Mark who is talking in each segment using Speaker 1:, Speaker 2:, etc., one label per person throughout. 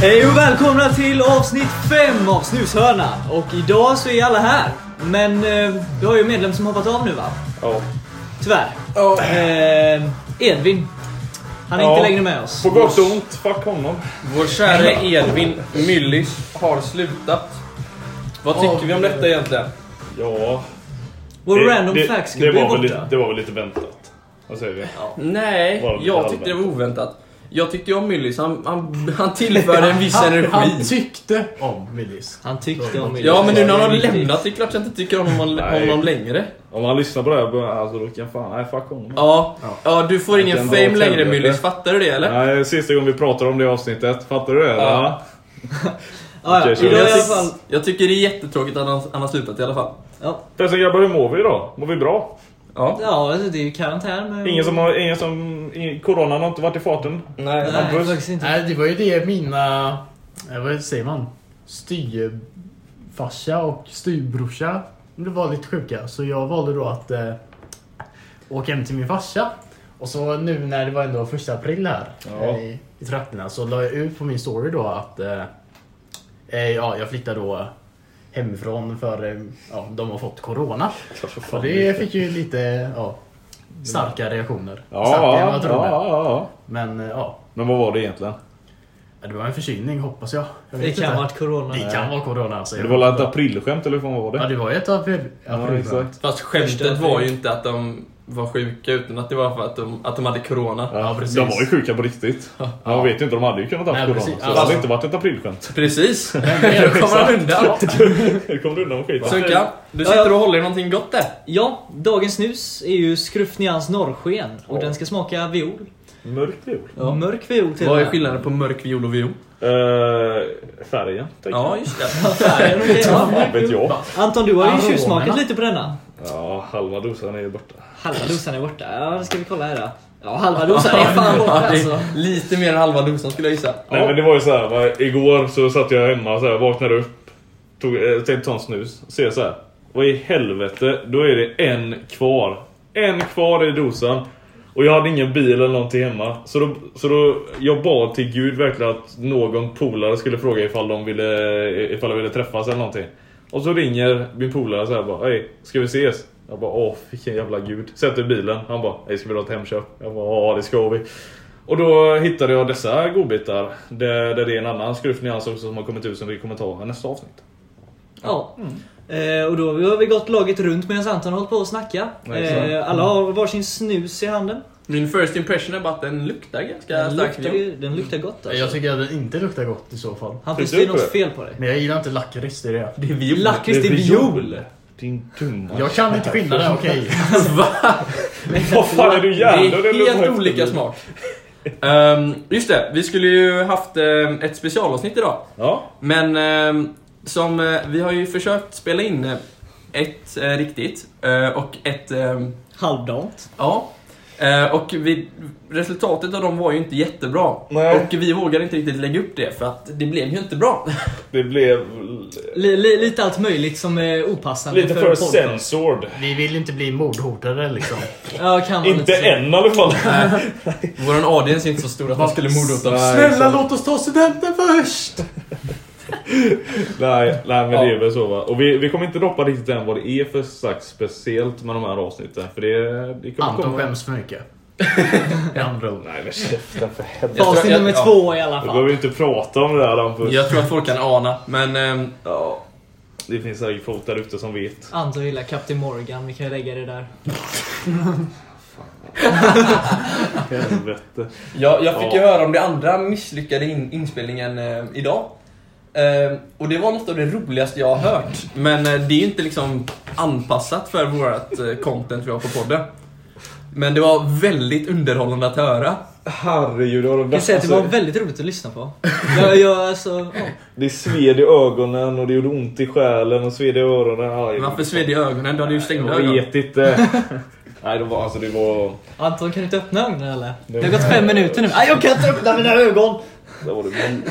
Speaker 1: Hej och välkomna till avsnitt 5 av Snushörna. Och idag så är alla här. Men eh, vi har ju en medlem som hoppat av nu va?
Speaker 2: Ja.
Speaker 1: Tyvärr.
Speaker 3: Ja.
Speaker 1: Eh, Edvin. Han är
Speaker 2: Ja.
Speaker 1: inte längre med oss.
Speaker 2: På gott och ont, fuck honom.
Speaker 3: Vår kära Edvin Myllys har slutat. Vad tycker vi om detta egentligen?
Speaker 2: Ja.
Speaker 1: Vår random facts
Speaker 2: det,
Speaker 1: gubbe är
Speaker 2: var
Speaker 1: borta.
Speaker 2: väl lite, det var väl lite väntat. Vad säger vi? Bara
Speaker 4: Nej,
Speaker 2: lite
Speaker 4: jag tyckte det var oväntat. Jag tyckte om Myllys, han, han, han tillförde en viss
Speaker 5: Han
Speaker 4: energi.
Speaker 5: tyckte om Willis.
Speaker 1: Han tyckte om
Speaker 4: Ja, men nu när han har lämnat, det är klart jag inte tycker om honom,
Speaker 2: Nej.
Speaker 4: honom längre.
Speaker 2: Om han lyssnar på det här bara, alltså, då kan jag fan... Nej, fuck honom.
Speaker 4: Ja, ja du får ingen
Speaker 2: Den
Speaker 4: fame
Speaker 2: var
Speaker 4: längre
Speaker 2: trevlig,
Speaker 4: Myllys,
Speaker 2: eller?
Speaker 4: fattar du det eller?
Speaker 2: Nej, sista gången vi pratade om det avsnittet. Fattar du det?
Speaker 4: Ja.
Speaker 1: Ja, ja.
Speaker 2: Okej, så-
Speaker 1: Idag i alla
Speaker 4: Jag,
Speaker 1: fall.
Speaker 4: tyck, jag tycker det är jättetråkigt att han, han har slutat i alla fall.
Speaker 1: Ja,
Speaker 2: Förresten grabbar, hur mår vi idag? Mår vi bra?
Speaker 4: Ja.
Speaker 1: ja alltså, det är ju karantän. Men...
Speaker 2: Ingen som har... Ingen som... i- Coronan har inte varit i farten.
Speaker 4: Nej.
Speaker 1: Nej,
Speaker 2: Hampus?
Speaker 1: faktiskt inte.
Speaker 5: Nej, det var ju det mina... eh, Vad säger man? Styvfarsa och styvbrorsa det var lite sjuka. Så jag valde då att eh, åka hem till min farsa. Och så nu när det var ändå första april här eh, i, i trakterna så la jag ut på min story då att eh, eh, ja, jag flyttar då hemifrån för eh, ja, de har fått corona. Och det fick ju lite ja, starka reaktioner.
Speaker 2: Ja,
Speaker 5: starkare än vad
Speaker 2: ja,
Speaker 5: jag trodde.
Speaker 2: ja, ja.
Speaker 5: Men eh, ja,
Speaker 2: Men vad var det egentligen?
Speaker 5: det var en förkylning hoppas jag. jag
Speaker 1: Det
Speaker 5: vet
Speaker 1: kan
Speaker 5: inte.
Speaker 1: ha varit corona.
Speaker 5: det kan vara corona alltså.
Speaker 2: Det var väl ett aprilskämt eller vad fan var
Speaker 5: Ja
Speaker 2: det?
Speaker 5: det var ju ett april.
Speaker 2: Ja,
Speaker 5: aprilskämt.
Speaker 2: exakt.
Speaker 4: Fast skämtet var ju inte att de var sjuka utan att det var för att de, att de hade corona.
Speaker 5: Ja, precis.
Speaker 2: De var ju sjuka på riktigt. Man vet ju inte, de hade ju kunnat ha
Speaker 5: Nej,
Speaker 2: corona.
Speaker 5: precis.
Speaker 2: Så det hade
Speaker 5: Alltså-
Speaker 2: inte varit ett aprilskämt.
Speaker 4: Precis! Då kommer han undan.
Speaker 2: Hur kom du undan med skiten?
Speaker 4: Sunkan, du sitter och håller i någonting gott där.
Speaker 1: Ja, dagens snus är ju Skrufnians norrsken. Och
Speaker 2: Ja.
Speaker 1: den ska smaka viol.
Speaker 2: Mörkt jul.
Speaker 1: Ja. Mörk viol till och
Speaker 4: Vad är
Speaker 1: med.
Speaker 4: skillnaden på mörk viol och viol?
Speaker 2: Eh, färgen, tänker
Speaker 4: Ja, just det.
Speaker 1: Färgen, okej, ja.
Speaker 2: jag. Vet jag.
Speaker 1: Anton, du har ju
Speaker 5: Aromerna.
Speaker 1: tjuvsmakat lite på denna.
Speaker 2: Ja, halva dosan är borta.
Speaker 1: Halva dosan är borta. Ja, det ska vi kolla här då. Ja, halva dosan är fan borta
Speaker 4: Ja, det är
Speaker 1: alltså.
Speaker 4: Lite mer än halva dosan skulle jag gissa.
Speaker 2: Nej men det var ju så här. Va, igår så satt jag hemma så här, vaknade upp. Tog, eh, tänkte ta en snus. Ser så här. Vad i helvete, då är det en kvar. En kvar i dosan. Och jag hade ingen bil eller någonting hemma. Så då, så då jag bad till gud verkligen att någon polare skulle fråga ifall de ville, eh, ifall de ville träffas eller någonting. Och så ringer min polare så här bara, hej, ska vi ses? Jag bara, åh vilken jävla gud. Sätter i bilen. Han bara, hej ska vi dra till Hemköp? Jag bara, ja det ska vi. Och då hittade jag dessa godbitar. Där, där det är en annan skruvnyans också som har kommit ut som vi kommer ta i nästa avsnitt.
Speaker 1: Ja. Eh, och då har vi gått laget runt medan Anton har hållit på att snacka.
Speaker 2: Ja, exakt.
Speaker 1: Eh, alla har varsin snus i handen.
Speaker 4: Min first impression är bara att den luktar ganska
Speaker 1: Den
Speaker 4: starkt.
Speaker 1: luktar, ju- den luktar gott alltså.
Speaker 5: Jag tycker att det inte luktar gott i så fall.
Speaker 1: Han
Speaker 2: Tyckte
Speaker 1: det är
Speaker 2: du
Speaker 1: något
Speaker 2: på det?
Speaker 1: fel på dig.
Speaker 5: Men jag gillar inte lakrits, det är det.
Speaker 4: Det är viol.
Speaker 1: Lakrits till viol!
Speaker 2: Din dumma...
Speaker 5: Jag kan inte skillnaden, okej.
Speaker 2: Vad fan är du
Speaker 4: Det
Speaker 2: hjärndöd eller
Speaker 4: är
Speaker 2: vad heter
Speaker 4: helt olika
Speaker 2: du?
Speaker 4: smak. Ehm, just det, vi skulle ju haft ehm, ett specialavsnitt idag.
Speaker 2: Ja,
Speaker 4: Men ehm, som eh, vi har ju försökt spela in eh, ett eh, riktigt eh, och ett ehm,
Speaker 1: Halvdant.
Speaker 4: Ja. Eh, och vi, resultatet av dem var ju inte jättebra.
Speaker 2: Nej.
Speaker 4: Och vi vågade inte riktigt lägga upp det för att det blev ju inte bra.
Speaker 2: det blev
Speaker 1: Li, li, lite allt möjligt som är opassande
Speaker 2: lite
Speaker 1: för, en
Speaker 2: för
Speaker 1: podcast.
Speaker 2: censored.
Speaker 5: Vi vill inte bli mordhotade liksom.
Speaker 1: Ja, kan vara lite
Speaker 2: Inte
Speaker 1: så.
Speaker 2: än i alla fall.
Speaker 4: Våran audience är inte så stor att man skulle mordhota oss.
Speaker 5: Snälla låt oss ta studenten först!
Speaker 2: Nej, nej men
Speaker 4: Ja.
Speaker 2: det är väl så va. Och vi, vi kommer inte droppa riktigt än vad det är för slags speciellt med de här avsnitten. För det, det kommer
Speaker 5: Anton
Speaker 2: komma...
Speaker 5: skäms för mycket. I andra ord.
Speaker 2: Nej men käften för helvete.
Speaker 4: Jag tror-
Speaker 1: Avsnitt
Speaker 4: jag-
Speaker 1: nummer
Speaker 4: ja.
Speaker 1: två i alla
Speaker 2: Vi
Speaker 1: fall.
Speaker 2: behöver inte prata om det här Hampus.
Speaker 4: Jag tror att folk kan ana, men... ehm,
Speaker 2: Ja. Det finns säkert folk där ute som vet.
Speaker 1: Anton gillar Captain Morgan, vi kan lägga det där.
Speaker 2: Helvete.
Speaker 4: jag, jag fick ju
Speaker 2: Ja.
Speaker 4: höra om det andra misslyckade in, inspelningen eh, idag. Ehm, och det var något av det roligaste jag har hört. Men eh, det är ju inte liksom anpassat för vårt eh, content vi har på podden. Men det var väldigt underhållande att höra.
Speaker 2: Herregud, det, var de
Speaker 1: Jag kan
Speaker 2: värsta-
Speaker 1: säga att det var väldigt roligt att lyssna på. Jag, jag, alltså, ja.
Speaker 2: Alltså, det sved i ögonen och det gjorde ont i själen och sved i öronen. Aj,
Speaker 4: Varför sved i ögonen? Du hade ju stängda
Speaker 2: Jag
Speaker 4: ögon.
Speaker 2: vet inte. Nej, det var, alltså det var...
Speaker 1: Anton, kan du inte öppna ögonen eller? Det har gått fem minuter nu. Nej, jag kan inte öppna mina ögon!
Speaker 2: Det var, det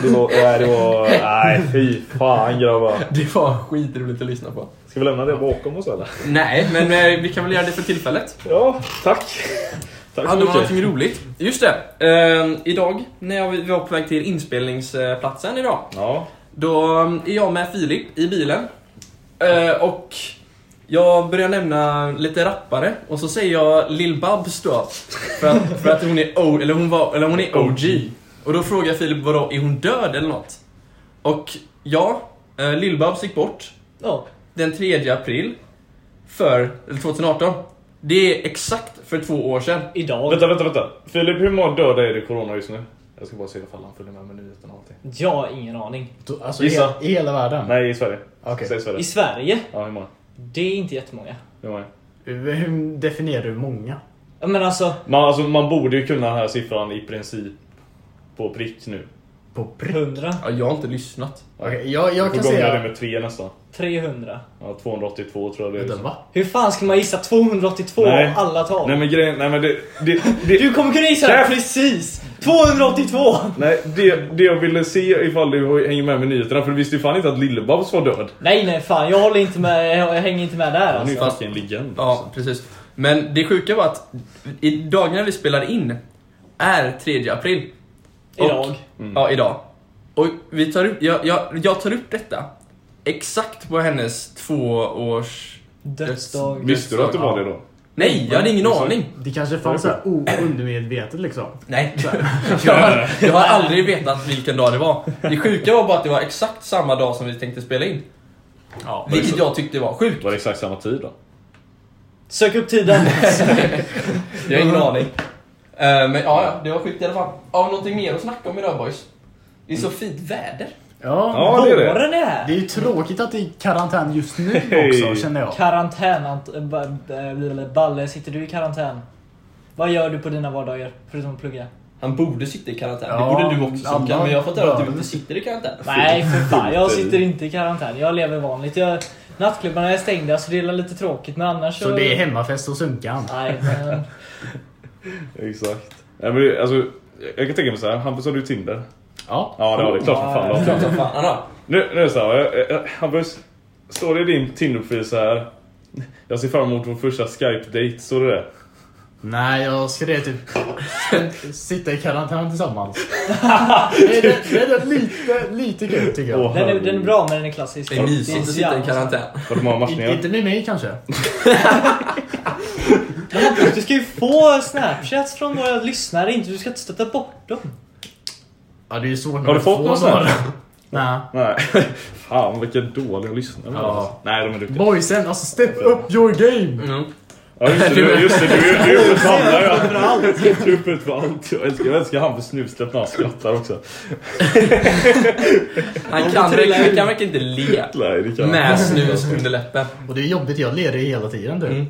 Speaker 2: var, nej, det var, nej, fy fan grabbar.
Speaker 4: Det var skitroligt att lyssna på.
Speaker 2: Ska vi lämna det bakom oss eller?
Speaker 4: Nej, men eh, vi kan väl göra det för tillfället.
Speaker 2: Ja, tack. Tack så
Speaker 4: Hade man
Speaker 2: mycket.
Speaker 4: någonting roligt? Just det! Eh, idag, när jag var på väg till inspelningsplatsen idag,
Speaker 2: Ja.
Speaker 4: då är jag med Filip i bilen. Eh, och jag börjar nämna lite rappare och så säger jag Lil Babs då. För att, för att hon är o, eller hon var, eller hon är OG. Och då frågar jag Filip vadå, är hon död eller något? Och ja, eh, Lil Babs gick bort
Speaker 1: Ja.
Speaker 4: den 3 april för eller 2018. Det är exakt för två år sedan.
Speaker 1: Idag.
Speaker 2: Vänta, vänta, vänta. Filip, hur många döda är det i corona just nu? Jag ska bara se ifall han följer med med nyheterna och allting.
Speaker 1: Jag har ingen aning.
Speaker 5: Då- Alltså
Speaker 2: Gissa.
Speaker 5: i, i hela världen?
Speaker 2: Nej, i Sverige.
Speaker 5: Okej.
Speaker 2: Säg Sverige.
Speaker 1: I Sverige,
Speaker 2: Ja, hur många?
Speaker 1: det är inte jättemånga.
Speaker 2: Hur många?
Speaker 5: Hur- Hur definierar du många?
Speaker 1: Ja, Men alltså,
Speaker 2: Man, alltså, man borde ju kunna den här siffran i princip på prick nu.
Speaker 5: På pr-
Speaker 1: 100,
Speaker 4: Ja, jag har inte lyssnat.
Speaker 5: Okej, jag, jag
Speaker 2: Jag
Speaker 5: kan
Speaker 2: får gånger det
Speaker 5: säga...
Speaker 2: med tre nästan.
Speaker 1: 300.
Speaker 2: Ja, 282 tror jag det är.
Speaker 5: Vänta, va?
Speaker 1: Hur fan ska man gissa 282
Speaker 2: Nej.
Speaker 1: av alla tal?
Speaker 2: Nej men grejen, nej men det... det, det
Speaker 1: Du kommer kunna gissa det
Speaker 2: Käft!
Speaker 1: precis! 282!
Speaker 2: Nej, det, det jag ville se ifall du hänger med med nyheterna, för du visste ju fan inte att Lillebabs var död.
Speaker 1: Nej nej fan, jag håller inte med, jag hänger inte med där
Speaker 2: Han är ju
Speaker 1: alltså.
Speaker 2: fast i en legend.
Speaker 4: Ja, precis. Men det sjuka var att i dagarna vi spelar in är 3 april. Och-
Speaker 1: Idag.
Speaker 2: Mm.
Speaker 4: Ja, idag. Och vi tar upp, jag, jag, jag tar upp detta exakt på hennes tvåårs...
Speaker 1: Dödsdag.
Speaker 2: Visste du att det var det då? Mm.
Speaker 4: Nej, jag hade ingen
Speaker 2: Exakt.
Speaker 4: aning.
Speaker 5: Det kanske fanns såhär undermedvetet liksom.
Speaker 4: Nej. Jag, har- jag har aldrig vetat vilken dag det var. Det sjuka var bara att det var exakt samma dag som vi tänkte spela in.
Speaker 2: Ja, var, det,
Speaker 4: Vilket
Speaker 2: så-
Speaker 4: jag tyckte var sjukt.
Speaker 2: var det exakt samma tid då?
Speaker 1: Sök upp tiden.
Speaker 4: Jag har ingen aning. Eh, Men ja, ja, det var sjukt i alla fall. Har vi någonting mer att snacka om idag boys? Det är så
Speaker 2: Mm.
Speaker 4: fint väder.
Speaker 5: Ja.
Speaker 2: Ja, det är det.
Speaker 1: Våren är här.
Speaker 5: Det är ju tråkigt att det är karantän just nu
Speaker 2: Hej.
Speaker 5: också känner jag.
Speaker 1: Karantän Ant- äh, ba- äh, Balle, sitter du i karantän? Vad gör du på dina vardagar? Förutom att plugga?
Speaker 4: Han borde sitta i karantän.
Speaker 5: Ja,
Speaker 4: det borde du också
Speaker 5: alla
Speaker 4: Sunkan, men jag har fått höra att du
Speaker 5: bör.
Speaker 4: inte sitter i karantän.
Speaker 1: Nej för fan, jag sitter inte i karantän. Jag lever vanligt. Jag, nattklubbarna är stängda så det är lite tråkigt men annars
Speaker 5: Så det är hemmafest hos Sunkan.
Speaker 1: Nej men...
Speaker 2: Exakt. Nej, men det, alltså, jag kan tänka mig så här. Hampus, har du Tinder?
Speaker 5: Ja.
Speaker 2: Ja, det har du. Klart som fan du har
Speaker 4: Klart som fan han har.
Speaker 2: Nu, nu är det så här, jag- jag- Hampus. Står det i din Tinder-profil så här? Jag ser fram emot vår första Skype-date, står det det?
Speaker 5: Nej, jag skrev typ sitta i karantän tillsammans. det, är, det är lite, lite kul tycker jag.
Speaker 2: Åh,
Speaker 1: Den är,
Speaker 2: herregud.
Speaker 1: den är bra men den är klassisk.
Speaker 4: Det är mysigt
Speaker 1: inte
Speaker 4: att
Speaker 1: så
Speaker 4: sitta i
Speaker 1: jävla-
Speaker 4: karantän.
Speaker 2: Har du många
Speaker 5: I,
Speaker 2: matchningar?
Speaker 5: inte med mig kanske.
Speaker 1: Du ska ju få snapchats från våra lyssnare, inte, du ska inte stöta bort dem.
Speaker 5: Ja, det är ju svårt när
Speaker 2: Har du
Speaker 5: man
Speaker 2: fått
Speaker 5: får
Speaker 2: någon sån här?
Speaker 5: några. Nej.
Speaker 2: Nej. Fan vilka dåliga lyssnare.
Speaker 5: Ja.
Speaker 2: Nej, de är duktiga.
Speaker 5: Boysen, alltså step up your game!
Speaker 4: Mm.
Speaker 2: Ja just det, du, just det, du, du är uppe på alla ja. Du är uppe på allt. Jag älskar, jag älskar han för snusläpp när han skrattar också.
Speaker 4: Han, kan, verkligen- han kan verkligen inte le.
Speaker 2: Nej, det kan
Speaker 4: Med snus under läppen.
Speaker 5: Och det är jobbigt, jag ler ju hela tiden du.
Speaker 4: Mm.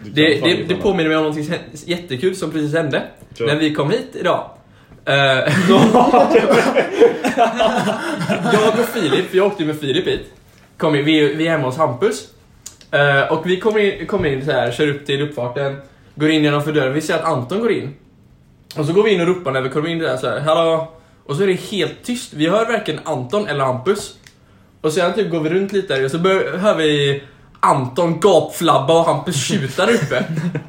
Speaker 2: Du kan
Speaker 4: Det,
Speaker 2: fan
Speaker 4: det,
Speaker 2: inte
Speaker 4: det
Speaker 2: annat.
Speaker 4: påminner mig om någonting hä- jättekul som precis hände.
Speaker 2: Kör.
Speaker 4: När vi kom hit idag. Eh, jag och Filip, jag åkte med Filip hit. Kom in, vi, är- vi är hemma hos Hampus. Eh, och vi kommer in, kom in så här, kör upp till uppfarten, går in genom för dörren. Vi ser att Anton går in. Och så går vi in och ropar när vi kommer in där så här, hallå? Och så är det helt tyst. Vi hör varken Anton eller Hampus. Och sen typ går vi runt lite där och så bör, hör vi Anton gapflabba och Hampus tjuta där uppe.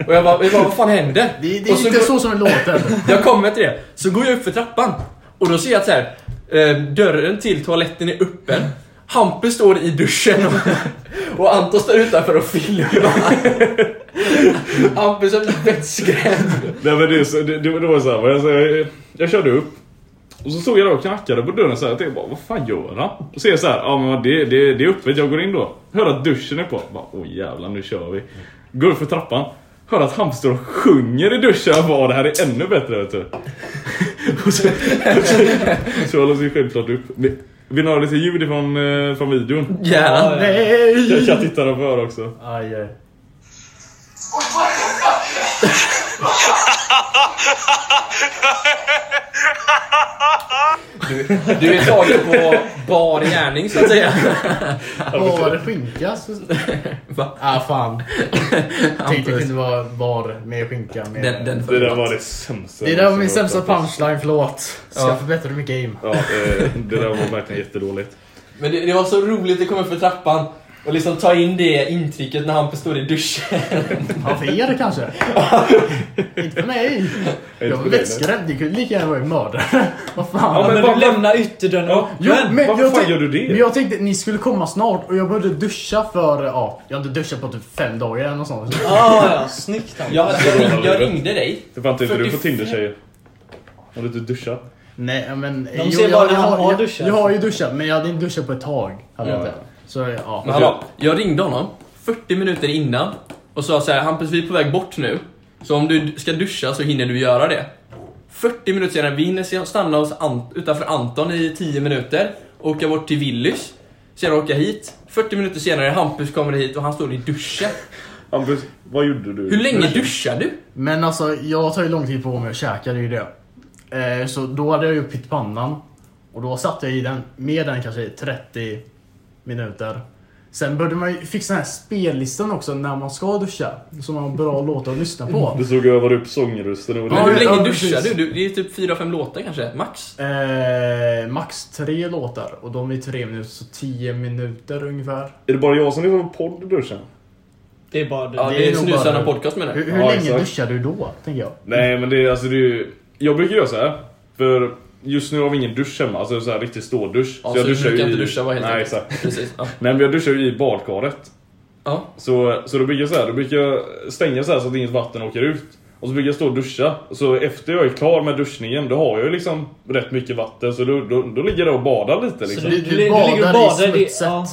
Speaker 4: Och jag bara, jag bara vad fan hände?
Speaker 5: Det, det är
Speaker 4: och
Speaker 5: inte
Speaker 4: går-
Speaker 5: så som det låter.
Speaker 4: jag kommer till det. Så går jag upp för trappan och då ser jag att så här, eh, dörren till toaletten är öppen. Hampus står i duschen och, och Anton står utanför och filmar. Hampus har blivit vettskrämd.
Speaker 2: Nej men det, är så- det, det, det var så här, vad jag, så jag, jag körde upp. Och så stod jag där och knackade på dörren så här, jag tänkte bara, vad fan gör han? Och så är jag så här, ja men det, det, det är öppet, jag går in då. Hör att duschen är på. Bara, Åh jävlar, nu kör vi. Går upp för trappan. Hör att han står och sjunger i duschen. Jag bara, det här är ännu bättre vet du. och så, så jag låser ju självklart upp. Men Vill ni ha lite ljud ifrån, eh, från videon?
Speaker 4: Gärna.
Speaker 2: Jag
Speaker 5: Nej!
Speaker 2: kan titta där för också.
Speaker 5: Aj, aj.
Speaker 4: Du är tagen på bar gärning så att säga.
Speaker 5: Åh, vad det skinkas.
Speaker 4: Va?
Speaker 5: Ah, fan. Tänkte det
Speaker 4: Hampus.
Speaker 5: kunde vara var med skinka. Med...
Speaker 4: Den, den
Speaker 2: Det där var det sämsta.
Speaker 5: Det
Speaker 2: jag
Speaker 5: där var
Speaker 2: har
Speaker 5: min
Speaker 2: hört, alltså.
Speaker 5: sämsta
Speaker 2: faktiskt.
Speaker 5: punchline, förlåt. Ska
Speaker 4: Ja.
Speaker 5: förbättra mitt game.
Speaker 2: Ja, eh, det där var verkligen jättedåligt.
Speaker 4: Men det, det var så roligt, det kom upp för trappan. Och liksom ta in det intrycket när Hampus står i duschen.
Speaker 5: Ja, för er kanske. Inte för mig. Jag var
Speaker 2: för dig,
Speaker 5: vettskrämd. Det kunde lika gärna vara en mördare. Vad fan.
Speaker 1: Ja, men,
Speaker 2: men
Speaker 1: du
Speaker 2: vad-
Speaker 1: lämnar ytterdörren
Speaker 2: Ja,
Speaker 1: öppen.
Speaker 5: Jo, men,
Speaker 2: varför
Speaker 5: jag
Speaker 2: fan
Speaker 5: tänk-
Speaker 2: gör du det?
Speaker 5: Men jag tänkte att ni skulle komma snart och jag behövde duscha för, ja, jag hade duschat på typ fem dagar eller något sånt.
Speaker 1: Ah, ja, snyggt Hampus.
Speaker 4: Jag, jag, ring, jag ringde dig.
Speaker 2: Det fanns inte du på Tinder-tjejer. Har du inte duschat?
Speaker 5: Nej men... De
Speaker 1: ser bara när han har
Speaker 5: jag,
Speaker 1: duschat.
Speaker 5: Jag har ju duschat men jag hade inte duschat på ett tag. Hade jag
Speaker 2: Ja,
Speaker 5: inte. Så ja.
Speaker 4: Men hallå, jag ringde honom 40 minuter innan och sa så här, Hampus vi är på väg bort nu. Så om du ska duscha så hinner du göra det. 40 minuter senare, vi hinner stanna hos Ant- utanför Anton i 10 minuter, åka bort till Willys, sedan åka hit. 40 minuter senare, Hampus kommer hit och han står i duschen.
Speaker 2: Hampus, vad gjorde du?
Speaker 4: Hur länge duschar du?
Speaker 5: Men alltså jag tar ju lång tid på mig att käka, det är ju det. Eh, så då hade jag ju pyttipannan. Och då satt jag i den, med den kanske i 30 minuter. Sen började man ju fixa den här spellistan också när man ska duscha. Så man har bra låtar att lyssna på.
Speaker 2: Du såg över upp sångrösten och
Speaker 4: Men hur
Speaker 5: ja,
Speaker 4: länge
Speaker 5: precis.
Speaker 4: duschar du? du? Det är typ 4-5 låtar kanske, max.
Speaker 5: Eh, max tre låtar och de är tre minuter, så 10 minuter ungefär.
Speaker 2: Är det bara jag som lyssnar på podd i duschen?
Speaker 1: Det är bara du.
Speaker 4: Ja,
Speaker 5: det
Speaker 4: det
Speaker 5: är
Speaker 4: är
Speaker 5: nog
Speaker 4: snusarna
Speaker 5: bara-
Speaker 4: podcast menar jag.
Speaker 5: Hur, hur
Speaker 2: Ja,
Speaker 5: länge
Speaker 2: exakt.
Speaker 5: duschar du då, tänker jag?
Speaker 2: Nej men det är alltså det är ju... Jag brukar göra så här. För just nu har vi ingen dusch hemma, alltså så här riktig stådusch.
Speaker 4: Ja,
Speaker 2: jag
Speaker 4: så du brukar
Speaker 2: ju
Speaker 4: inte duscha, vad helt
Speaker 2: Nej
Speaker 4: enkelt.
Speaker 2: exakt.
Speaker 4: Precis, ja.
Speaker 2: Nej men jag duschar ju i badkaret.
Speaker 4: ja.
Speaker 2: Så, så då brukar jag så här, då brukar jag stänga så här så att inget vatten åker ut. Och så brukar jag stå och duscha. Så efter jag är klar med duschningen, då har jag ju liksom rätt mycket vatten. Så då, då, då ligger jag och badar
Speaker 1: Så
Speaker 2: lite liksom.
Speaker 1: du,
Speaker 5: Du
Speaker 1: du, du,
Speaker 5: badar
Speaker 1: ligger och
Speaker 5: i
Speaker 1: badar i
Speaker 5: smutset.
Speaker 1: Ja,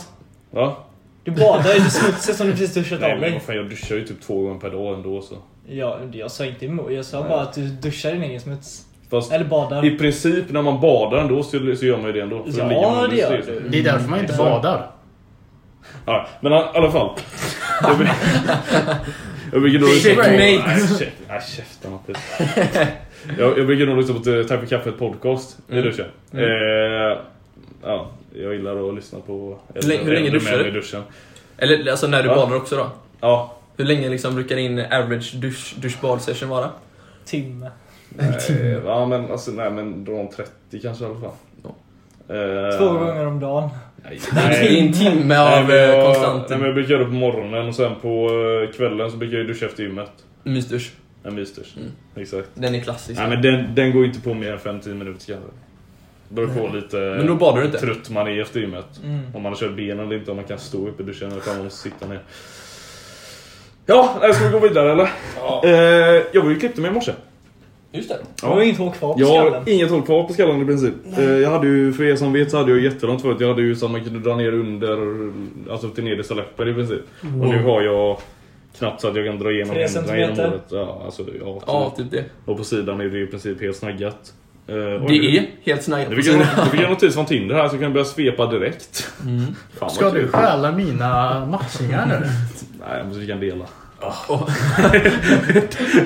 Speaker 2: Ja.
Speaker 1: du badar i smutset som du precis duschat
Speaker 2: Nej
Speaker 1: av
Speaker 2: men
Speaker 1: dig.
Speaker 2: vad fan, jag duschar ju typ två gånger per dag ändå så.
Speaker 1: Ja, jag sa inte emot. Jag sa bara att du duschar din egen smuts.
Speaker 2: Fast
Speaker 1: Eller badar.
Speaker 2: i princip när man badar ändå så, så gör man ju det ändå. För då
Speaker 1: Ja,
Speaker 2: ligger man under
Speaker 1: det gör
Speaker 2: styr.
Speaker 1: du.
Speaker 5: Det är därför man inte badar.
Speaker 2: Ja, men i alla fall. Jag brukar- Jag brukar nog lyssna på...
Speaker 4: Checkmate.
Speaker 2: Nej, käft- nej, käften Mattias. Jag, jag brukar nog lyssna på liksom, eh, Tack för kaffet podcast i duschen. Eh, ja, jag gillar att lyssna på äldre,
Speaker 4: länge- hur länge
Speaker 2: äldre
Speaker 4: duschar
Speaker 2: män
Speaker 4: du?
Speaker 2: i duschen.
Speaker 4: Eller alltså när du
Speaker 2: Ja.
Speaker 4: badar också då?
Speaker 2: Ja,
Speaker 4: Hur länge liksom brukar din average dusch, duschbad-session vara?
Speaker 1: Timme.
Speaker 2: eh, ja men alltså nej men runt 30 kanske i alla fall.
Speaker 4: Ja.
Speaker 2: Eh,
Speaker 1: Två gånger om dagen.
Speaker 2: Nej,
Speaker 4: Det är
Speaker 2: nej.
Speaker 4: en timme
Speaker 2: Nej,
Speaker 4: av
Speaker 2: men
Speaker 4: eh,
Speaker 2: jag,
Speaker 4: konstant
Speaker 2: nej, men jag brukar göra det på morgonen och sen på eh, kvällen så brukar jag duscha efter gymmet.
Speaker 4: mysdusch.
Speaker 2: En mysdusch.
Speaker 4: Mm.
Speaker 2: Exakt.
Speaker 4: Den är klassisk.
Speaker 2: Nej men den, den går ju inte på mer än 5-10 minuter kanske. Beror på lite eh,
Speaker 4: Men då badar du inte?
Speaker 2: trött man är efter gymmet.
Speaker 1: Mm.
Speaker 2: Om man har kört benen eller inte, om man kan stå upp i duschen eller om man måste sitta ner. Ja, nej, ska vi gå vidare eller? Eh, jag var ju och klippte mig i morse.
Speaker 4: Just det.
Speaker 1: Du har ju inget hår kvar på
Speaker 2: Jag har
Speaker 1: skallen.
Speaker 2: inget hår kvar på skallen i princip. Eh, jag hade ju, för er som vet så hade jag jättelångt förut. Jag hade ju så att man kunde dra ner under, alltså till nedersta läppen i princip. Och nu har jag knappt så att jag kan dra igenom
Speaker 1: Mm. Tre
Speaker 2: händerna genom
Speaker 1: centimeter.
Speaker 2: håret. Ja, alltså, ja,
Speaker 4: Ja, typ det.
Speaker 2: Och på sidan är det i princip helt snaggat. Eh, och nu-
Speaker 4: Det är helt snaggat.
Speaker 2: Nu fick jag nu fick jag notis från Tinder här så jag kan börja svepa direkt.
Speaker 4: Mm.
Speaker 2: Fan, vad
Speaker 5: Ska du
Speaker 2: kul.
Speaker 5: stjäla mina matchningar nu?
Speaker 2: Nej, men vi kan dela.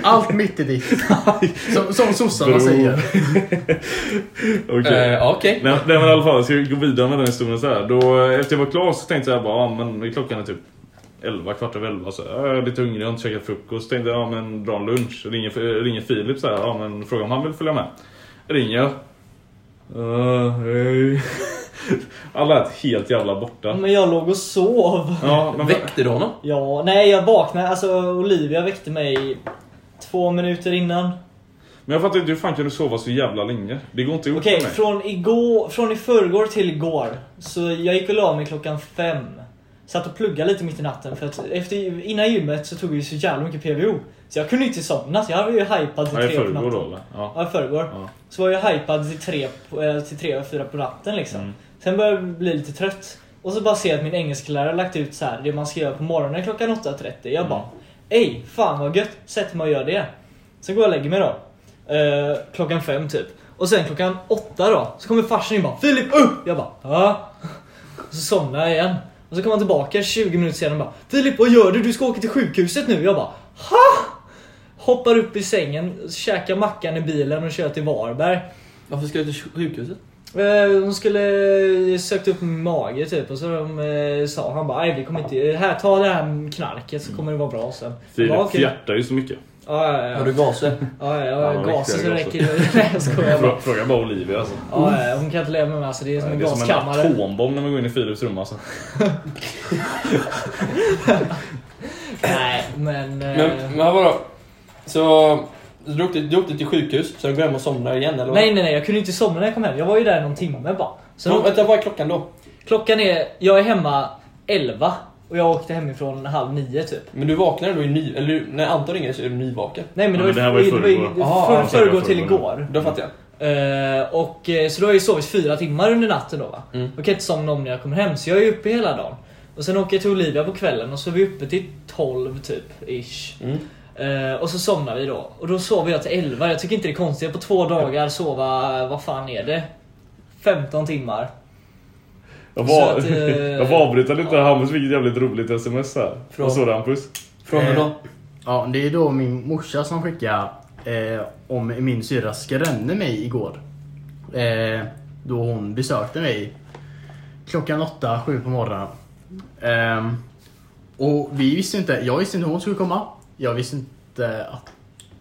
Speaker 5: Allt mitt i ditt. Som, som sossarna
Speaker 2: Bro.
Speaker 5: säger.
Speaker 2: Okej.
Speaker 4: Eh, Okej.
Speaker 2: Nej, nej men i alla fall, ska vi gå vidare med den historien så här. Då, eh, efter jag var klar så tänkte jag bara, ja men klockan är typ 11, kvart över 11. Så, ja, jag är lite hungrig, jag har inte käkat frukost. Tänkte jag, ja men dra en lunch. Ringer, eh, ringer Filip så här, ja men fråga om han vill följa med. Ringer jag. Uh, hej. Alla är helt jävla borta.
Speaker 1: Men jag låg och sov.
Speaker 2: Ja, men,
Speaker 4: Väckte du honom?
Speaker 1: Ja, nej jag vaknade. Alltså Olivia väckte mig två minuter innan.
Speaker 2: men jag fattar inte, hur fan kan du sova så jävla länge? Det går inte ihop
Speaker 1: Okej,
Speaker 2: för mig.
Speaker 1: från igår, från i förrgår till igår. Så jag gick och la mig klockan fem. Satt och pluggade lite mitt i natten för att efter, innan gymmet så tog vi så jävla mycket PVO. Så jag kunde inte somna så jag var ju hypad till
Speaker 2: Nej, i
Speaker 1: tre på
Speaker 2: förrgår
Speaker 1: natten.
Speaker 2: då eller? Ja.
Speaker 1: Ja, i förrgår.
Speaker 2: Ja.
Speaker 1: Så var jag hypad till tre, på- eh, till tre och fyra på natten liksom.
Speaker 2: Mm.
Speaker 1: Sen började jag bli lite trött. Och så bara ser jag att min engelsklärare lagt ut så här det man ska göra på morgonen klockan 8.30. Jag bara,
Speaker 2: Mm.
Speaker 1: ej, fan vad gött, sätt mig och gör det. Så går jag och lägger mig då. Eh, klockan fem typ. Och sen klockan åtta då, så kommer farsan in och bara Filip upp! Jag bara, ja. Och så somnade jag igen. Och så kom han tillbaka 20 minuter senare och bara Filip vad gör du? Du ska åka till sjukhuset nu. Jag bara ha! Hoppar upp i sängen, käkar mackan i bilen och kör till Varberg.
Speaker 4: Varför ska du till sjukhuset?
Speaker 1: Eh, Hon skulle eh, sökt upp min mage typ och så de, eh, sa han bara "Aj, vi kommer inte, här ta det här knarket
Speaker 2: Mm.
Speaker 1: så kommer det vara bra sen.
Speaker 2: Filip
Speaker 1: Ja, okej.
Speaker 2: fjärtar ju så mycket.
Speaker 1: Ja, ja, ja.
Speaker 4: Har du gaser?
Speaker 1: Ja,
Speaker 2: Ja,
Speaker 1: ja, ja
Speaker 2: de
Speaker 1: gasen så
Speaker 2: riktiga
Speaker 1: räcker det. Nej jag skojar bara.
Speaker 2: Frå, fråga bara Olivia alltså.
Speaker 1: Ja, ja, hon kan inte leva med mig alltså, det är som en
Speaker 2: Det är som en
Speaker 1: gaskammare.
Speaker 2: atombomb när man går in i Filips rum alltså.
Speaker 1: Nej men... eh,
Speaker 4: Men, men vadå? Så du åkte, du åkte till sjukhus, sen går du hem och somnar igen eller? vad?
Speaker 1: Nej nej nej, jag kunde inte somna när jag kom hem. Jag var ju där någon timme bara. Sen
Speaker 4: Så, vänta, vad är klockan då?
Speaker 1: Klockan är, jag är hemma 11 och jag åkte hemifrån halv nio typ.
Speaker 4: Men du vaknar då i ny... Eller när Anton ringer så är du nyvaken.
Speaker 1: Nej men det
Speaker 2: Ja,
Speaker 1: var,
Speaker 2: men det här var ju
Speaker 1: ju
Speaker 2: förrgår.
Speaker 4: Aha,
Speaker 1: förr-
Speaker 4: han
Speaker 2: säger
Speaker 1: förrgår till
Speaker 2: förrgår.
Speaker 1: igår.
Speaker 4: Då fattar jag.
Speaker 1: Eh, och, eh, så då har jag ju sovit fyra timmar under natten då va.
Speaker 4: Mm.
Speaker 1: Och kan inte somna om när jag kommer hem så jag är ju uppe hela dagen. Och sen åker jag till Olivia på kvällen och så är vi uppe till 12 typ, ish.
Speaker 4: Mm.
Speaker 1: Eh, och så somnar vi då. Och då sover jag till 11. Jag tycker inte det är konstigt att på två dagar sova, vad fan är det? 15 timmar.
Speaker 2: Jag
Speaker 1: Så
Speaker 2: var,
Speaker 1: att, eh,
Speaker 2: jag får avbryta lite här. Hampus fick ett jävligt roligt sms här.
Speaker 4: Från-
Speaker 2: Vad står det Hampus?
Speaker 4: Från och
Speaker 5: Eh,
Speaker 4: då?
Speaker 5: Ja, det är då min morsa som skickar eh, om min syrra skrämde mig igår. Eh, då hon besökte mig klockan åtta, sju på morgonen. Ehm, och vi visste inte, jag visste inte hon skulle komma. Jag visste inte att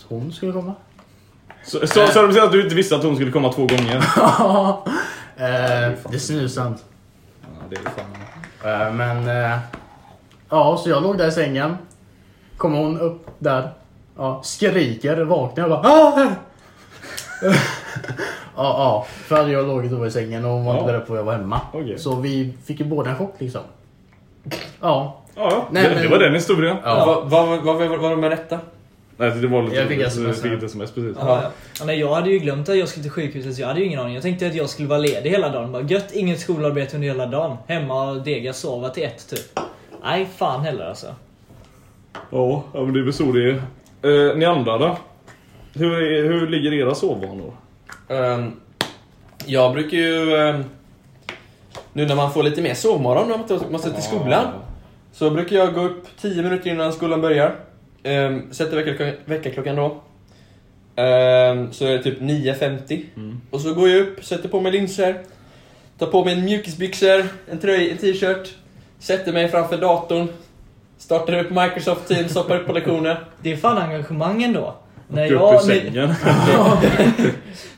Speaker 5: hon skulle komma.
Speaker 2: Så, så, så de säger att du inte visste att hon skulle komma två gånger?
Speaker 5: eh, det är snusant.
Speaker 2: Ja, det är fan.
Speaker 5: Eh, men eh, ja, så jag låg där i sängen. Kommer hon upp där. Ja, skriker, vaknar och bara ah! Ja, ja. För jag låg då i sängen och hon var inte
Speaker 2: Ja.
Speaker 5: beredd på att jag var hemma.
Speaker 2: Okej.
Speaker 5: Så vi fick ju båda en chock liksom. Ja,
Speaker 2: Ja, ja.
Speaker 5: Nej,
Speaker 2: det,
Speaker 5: men-
Speaker 2: det var den historien.
Speaker 5: Ja.
Speaker 4: Vad vad- vad- vad- vad var det med detta?
Speaker 2: Nej, det var lite
Speaker 5: Jag fick
Speaker 2: roligt,
Speaker 5: SMS
Speaker 2: så jag
Speaker 5: här.
Speaker 2: fick ett sms precis.
Speaker 1: Ja, ja. Ja, nej, jag hade ju glömt att jag skulle till sjukhuset så jag hade ju ingen aning. Jag tänkte att jag skulle vara ledig hela dagen. Bara, gött, inget skolarbete under hela dagen. Hemma och dega, sova till ett typ. Nej, fan heller alltså.
Speaker 2: Ja, ja, men det är väl så det är. Eh, ni andra då? Hur, är, hur ligger era sovvanor?
Speaker 4: Ehm, jag brukar ju... ehm, nu när man får lite mer sovmorgon när man måste- måste till skolan. Så brukar jag gå upp 10 minuter innan skolan börjar. Um, sätter väckarklockan, väckarklockan då. Ehm, så är det typ 9.50.
Speaker 2: Mm.
Speaker 4: Och så går jag upp, sätter på mig linser. Tar på mig en mjukisbyxor, en tröja, en t-shirt. Sätter mig framför datorn. Startar upp Microsoft Teams, hoppar upp på lektioner.
Speaker 1: Det är fan engagemang ändå. När
Speaker 2: Gå upp ur
Speaker 1: jag, ni,
Speaker 2: sängen. typ.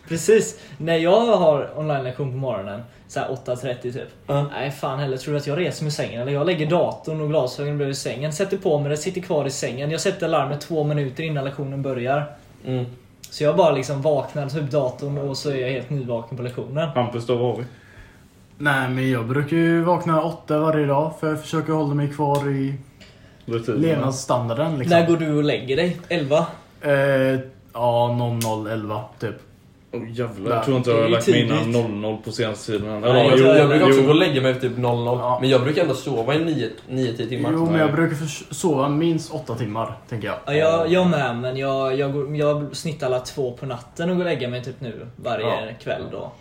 Speaker 1: precis, när jag har online-lektion på morgonen, så här 8.30 typ.
Speaker 4: Ja.
Speaker 1: Nej fan heller, tror du att jag reser mig ur sängen? Eller jag lägger datorn och glasögonen bredvid sängen, sätter på mig det, sitter kvar i sängen. Jag sätter larmet två minuter innan lektionen börjar.
Speaker 4: Mm.
Speaker 1: Så jag bara liksom vaknar, tar upp datorn och så är jag helt nyvaken på lektionen.
Speaker 2: Hampus då, vad har vi?
Speaker 5: nej men jag brukar ju vakna åtta varje dag för jag försöker hålla mig kvar i
Speaker 2: Rutinerna.
Speaker 5: levnadsstandarden liksom.
Speaker 1: När går du och lägger dig? 11?
Speaker 5: Eh, ja, 0011 typ.
Speaker 2: Åh, jävlar,
Speaker 5: Där.
Speaker 2: jag tror inte
Speaker 1: Det
Speaker 2: jag
Speaker 1: är
Speaker 2: har
Speaker 1: ju
Speaker 2: lagt mig innan
Speaker 1: tidigt.
Speaker 2: 00 på senaste tiden. Eller,
Speaker 1: Nej,
Speaker 2: ja,
Speaker 4: Jag,
Speaker 2: jo,
Speaker 4: tror- jag brukar också
Speaker 2: jo.
Speaker 4: gå och lägga mig vid typ 00.
Speaker 5: Ja.
Speaker 4: Men jag brukar ändå sova i 9-10 timmar.
Speaker 5: Jo, men jag
Speaker 2: Nej.
Speaker 5: brukar förs- sova minst åtta timmar, tänker jag.
Speaker 1: Ja, jag, jag med, men jag, jag, går, jag snittar alla två på natten och går och lägger mig typ nu varje kväll då.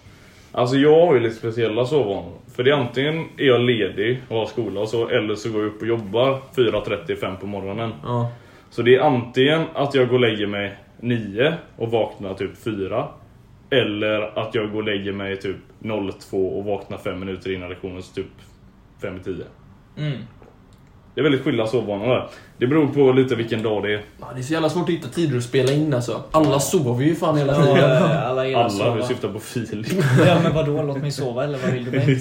Speaker 2: Alltså jag har ju lite speciella sovvanor. För det är antingen är jag ledig och har skola och så, eller så går jag upp och jobbar 4.35 på morgonen.
Speaker 4: Ja.
Speaker 2: Så det är antingen att jag går och lägger mig 9 och vaknar typ 4. Eller att jag går och lägger mig typ 02 och vaknar 5 minuter innan lektionen, så typ 5-10.
Speaker 1: Mm.
Speaker 2: Det är väldigt skilda sovvanor där. Det beror på lite vilken dag det är.
Speaker 4: Ja, Det är så jävla svårt att hitta tider att spela in alltså. Alla sover ju fan hela
Speaker 1: Ja,
Speaker 4: tiden.
Speaker 1: eh, alla gillar att
Speaker 2: Alla,
Speaker 1: sova.
Speaker 2: vi syftar på Filip.
Speaker 1: Ja men vadå, låt mig sova eller vad vill du mig?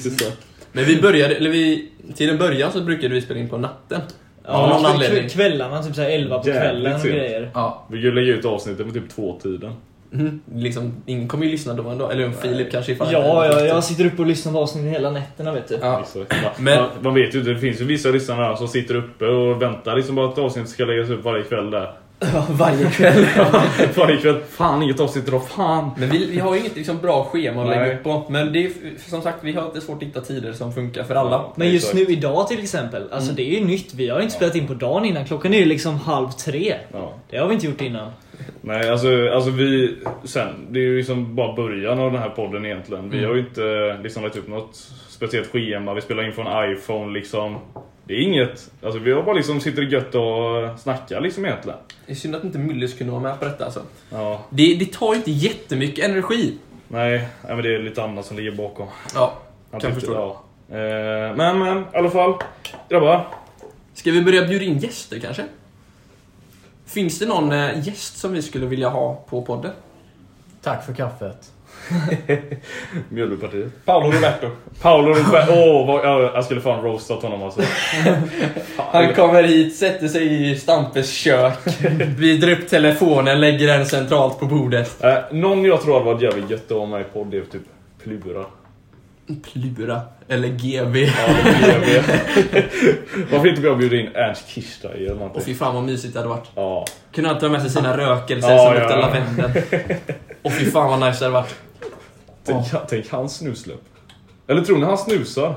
Speaker 4: Men vi började, eller vi, till en början så brukade vi spela in på natten.
Speaker 1: Ja,
Speaker 4: Av någon
Speaker 1: kv-
Speaker 4: anledning.
Speaker 1: Kvällarna, typ såhär 11 på
Speaker 2: Jävligt
Speaker 1: kvällen och
Speaker 2: sent.
Speaker 1: grejer.
Speaker 4: Ja.
Speaker 2: Vi kan lägga ut avsnittet på typ två tiden.
Speaker 4: Mm. Liksom, ingen kommer ju lyssna då ändå. Eller om Filip kanske ifall
Speaker 1: Ja, ja, jag sitter uppe och lyssnar på avsnittet hela nätterna vet du.
Speaker 4: Ja.
Speaker 2: Vissa- Man,
Speaker 4: Men-
Speaker 2: man, man vet ju inte, det finns ju vissa lyssnare här som sitter uppe och väntar liksom bara att avsnittet ska läggas upp varje kväll där.
Speaker 4: Varje kväll.
Speaker 2: varje kväll. Fan inget avsnitt idag, fan!
Speaker 4: Men vi, vi har ju inget liksom, bra schema att
Speaker 2: Nej.
Speaker 4: lägga upp på. Men det är, f- som sagt, vi har inte svårt att hitta tider som funkar för alla.
Speaker 1: Men just
Speaker 2: Exakt.
Speaker 1: nu idag till exempel, alltså det är ju nytt. Vi har inte spelat in på dagen innan. Klockan är ju liksom halv tre.
Speaker 2: Ja.
Speaker 1: Det har vi inte gjort innan.
Speaker 2: Nej, alltså, alltså vi... Sen, det är ju liksom bara början av den här podden egentligen. Vi har ju inte liksom lagt upp något speciellt schema. Vi spelar in från iPhone liksom. Det är inget. Alltså vi har bara liksom sitter gött och snackar liksom egentligen.
Speaker 4: Det är synd att inte Myllys kunde vara med på detta alltså.
Speaker 2: Ja.
Speaker 4: Det, det tar ju inte jättemycket energi.
Speaker 2: Nej, nej, men det är lite annat som ligger bakom.
Speaker 4: Ja,
Speaker 2: Han
Speaker 4: kan
Speaker 2: tyckte-
Speaker 4: förstå.
Speaker 2: ja. Eh, Men men, i alla fall. Grabbar.
Speaker 4: Ska vi börja bjuda in gäster kanske? Finns det någon eh, gäst som vi skulle vilja ha på podden?
Speaker 5: Tack för kaffet.
Speaker 2: Mjölbypartiet.
Speaker 3: Paolo Roberto.
Speaker 2: Paolo Roberto. Åh, vad- jag- jag skulle fan roastat honom alltså.
Speaker 4: Han kommer hit, sätter sig i Stampes kök, vrider upp telefonen, lägger den centralt på bordet.
Speaker 2: Eh, någon jag tror hade varit jävligt gött att vara med i podd är typ Plura.
Speaker 4: Plura, eller GB.
Speaker 2: Ja, det blir jag med. Varför inte jag bjuda in Ernst Kirchsteiger eller
Speaker 4: Och
Speaker 2: någonting?
Speaker 4: fy fan vad mysigt det hade varit.
Speaker 2: Ja.
Speaker 4: Kunde han ta med sig sina rökelser
Speaker 2: Ja,
Speaker 4: som
Speaker 2: ja,
Speaker 4: luktar
Speaker 2: ja.
Speaker 4: lavendel. Och fy fan vad nice det hade varit.
Speaker 2: Tänk, tänk hans snusläpp. Eller tror ni han snusar?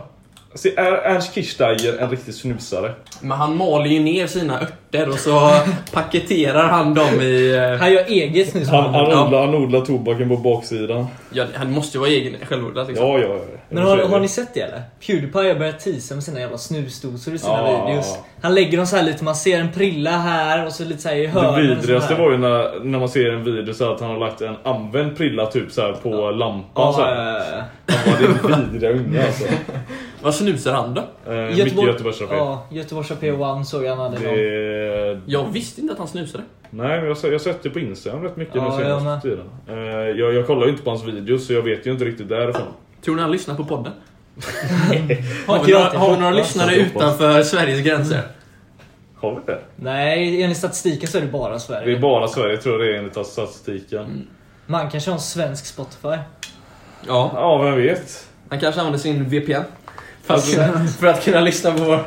Speaker 2: Alltså, är Ernst Kirchsteiger en riktig snusare?
Speaker 4: Men han maler ju ner sina örter och så paketerar han dem i... eh,
Speaker 1: Han gör eget snus.
Speaker 2: Han, han,
Speaker 4: Ja.
Speaker 2: odlar, han odlar tobaken på baksidan.
Speaker 4: Ja, han måste ju vara egen självodlad liksom.
Speaker 2: Ja, ja, ja.
Speaker 1: Men har, har ni sett det eller? Pewdiepie har börjat teasa med sina jävla snusdosor i sina
Speaker 2: Ja.
Speaker 1: videos. Han lägger dem så här lite, man ser en prilla här och så lite så här i
Speaker 2: Det
Speaker 1: hörnen.
Speaker 2: vidrigaste
Speaker 1: och så här.
Speaker 2: var ju när, när man ser en video så här att han har lagt en använd prilla typ så här på lampan
Speaker 1: Ja,
Speaker 2: så
Speaker 1: ja,
Speaker 2: här.
Speaker 1: ja, ja.
Speaker 2: Ja, det är vidriga unga alltså.
Speaker 4: Vad snusar han då?
Speaker 2: Eh,
Speaker 1: Göteborg-
Speaker 2: mycket Göteborgsrapé.
Speaker 1: Ja, Göteborgs AP1 såg jag han hade någon.
Speaker 2: Det...
Speaker 4: Jag visste inte att han snusade.
Speaker 2: Nej, men jag har jag har sett det på Instagram rätt mycket
Speaker 1: Ja,
Speaker 2: nu
Speaker 1: jag
Speaker 2: senaste
Speaker 1: med.
Speaker 2: tiden. Eh, jag, jag kollar ju inte på hans videos så jag vet ju inte riktigt därifrån.
Speaker 4: Tror ni han lyssnar på podden?
Speaker 1: Man
Speaker 4: Har
Speaker 1: kan
Speaker 4: vi
Speaker 1: ju
Speaker 4: några,
Speaker 1: alltid
Speaker 4: har vi
Speaker 1: hoppas.
Speaker 4: några lyssnare
Speaker 2: Jag hoppas.
Speaker 4: utanför Sveriges
Speaker 2: Mm.
Speaker 4: gränser?
Speaker 2: Har vi det?
Speaker 1: Nej, enligt statistiken så är det bara Sverige.
Speaker 2: Det är bara Sverige tror jag det är enligt statistiken.
Speaker 1: Man kanske har en svensk Spotify.
Speaker 4: Ja.
Speaker 2: Ja, vem vet?
Speaker 4: Han kanske använder sin VPN. För att, för att kunna lyssna på vår,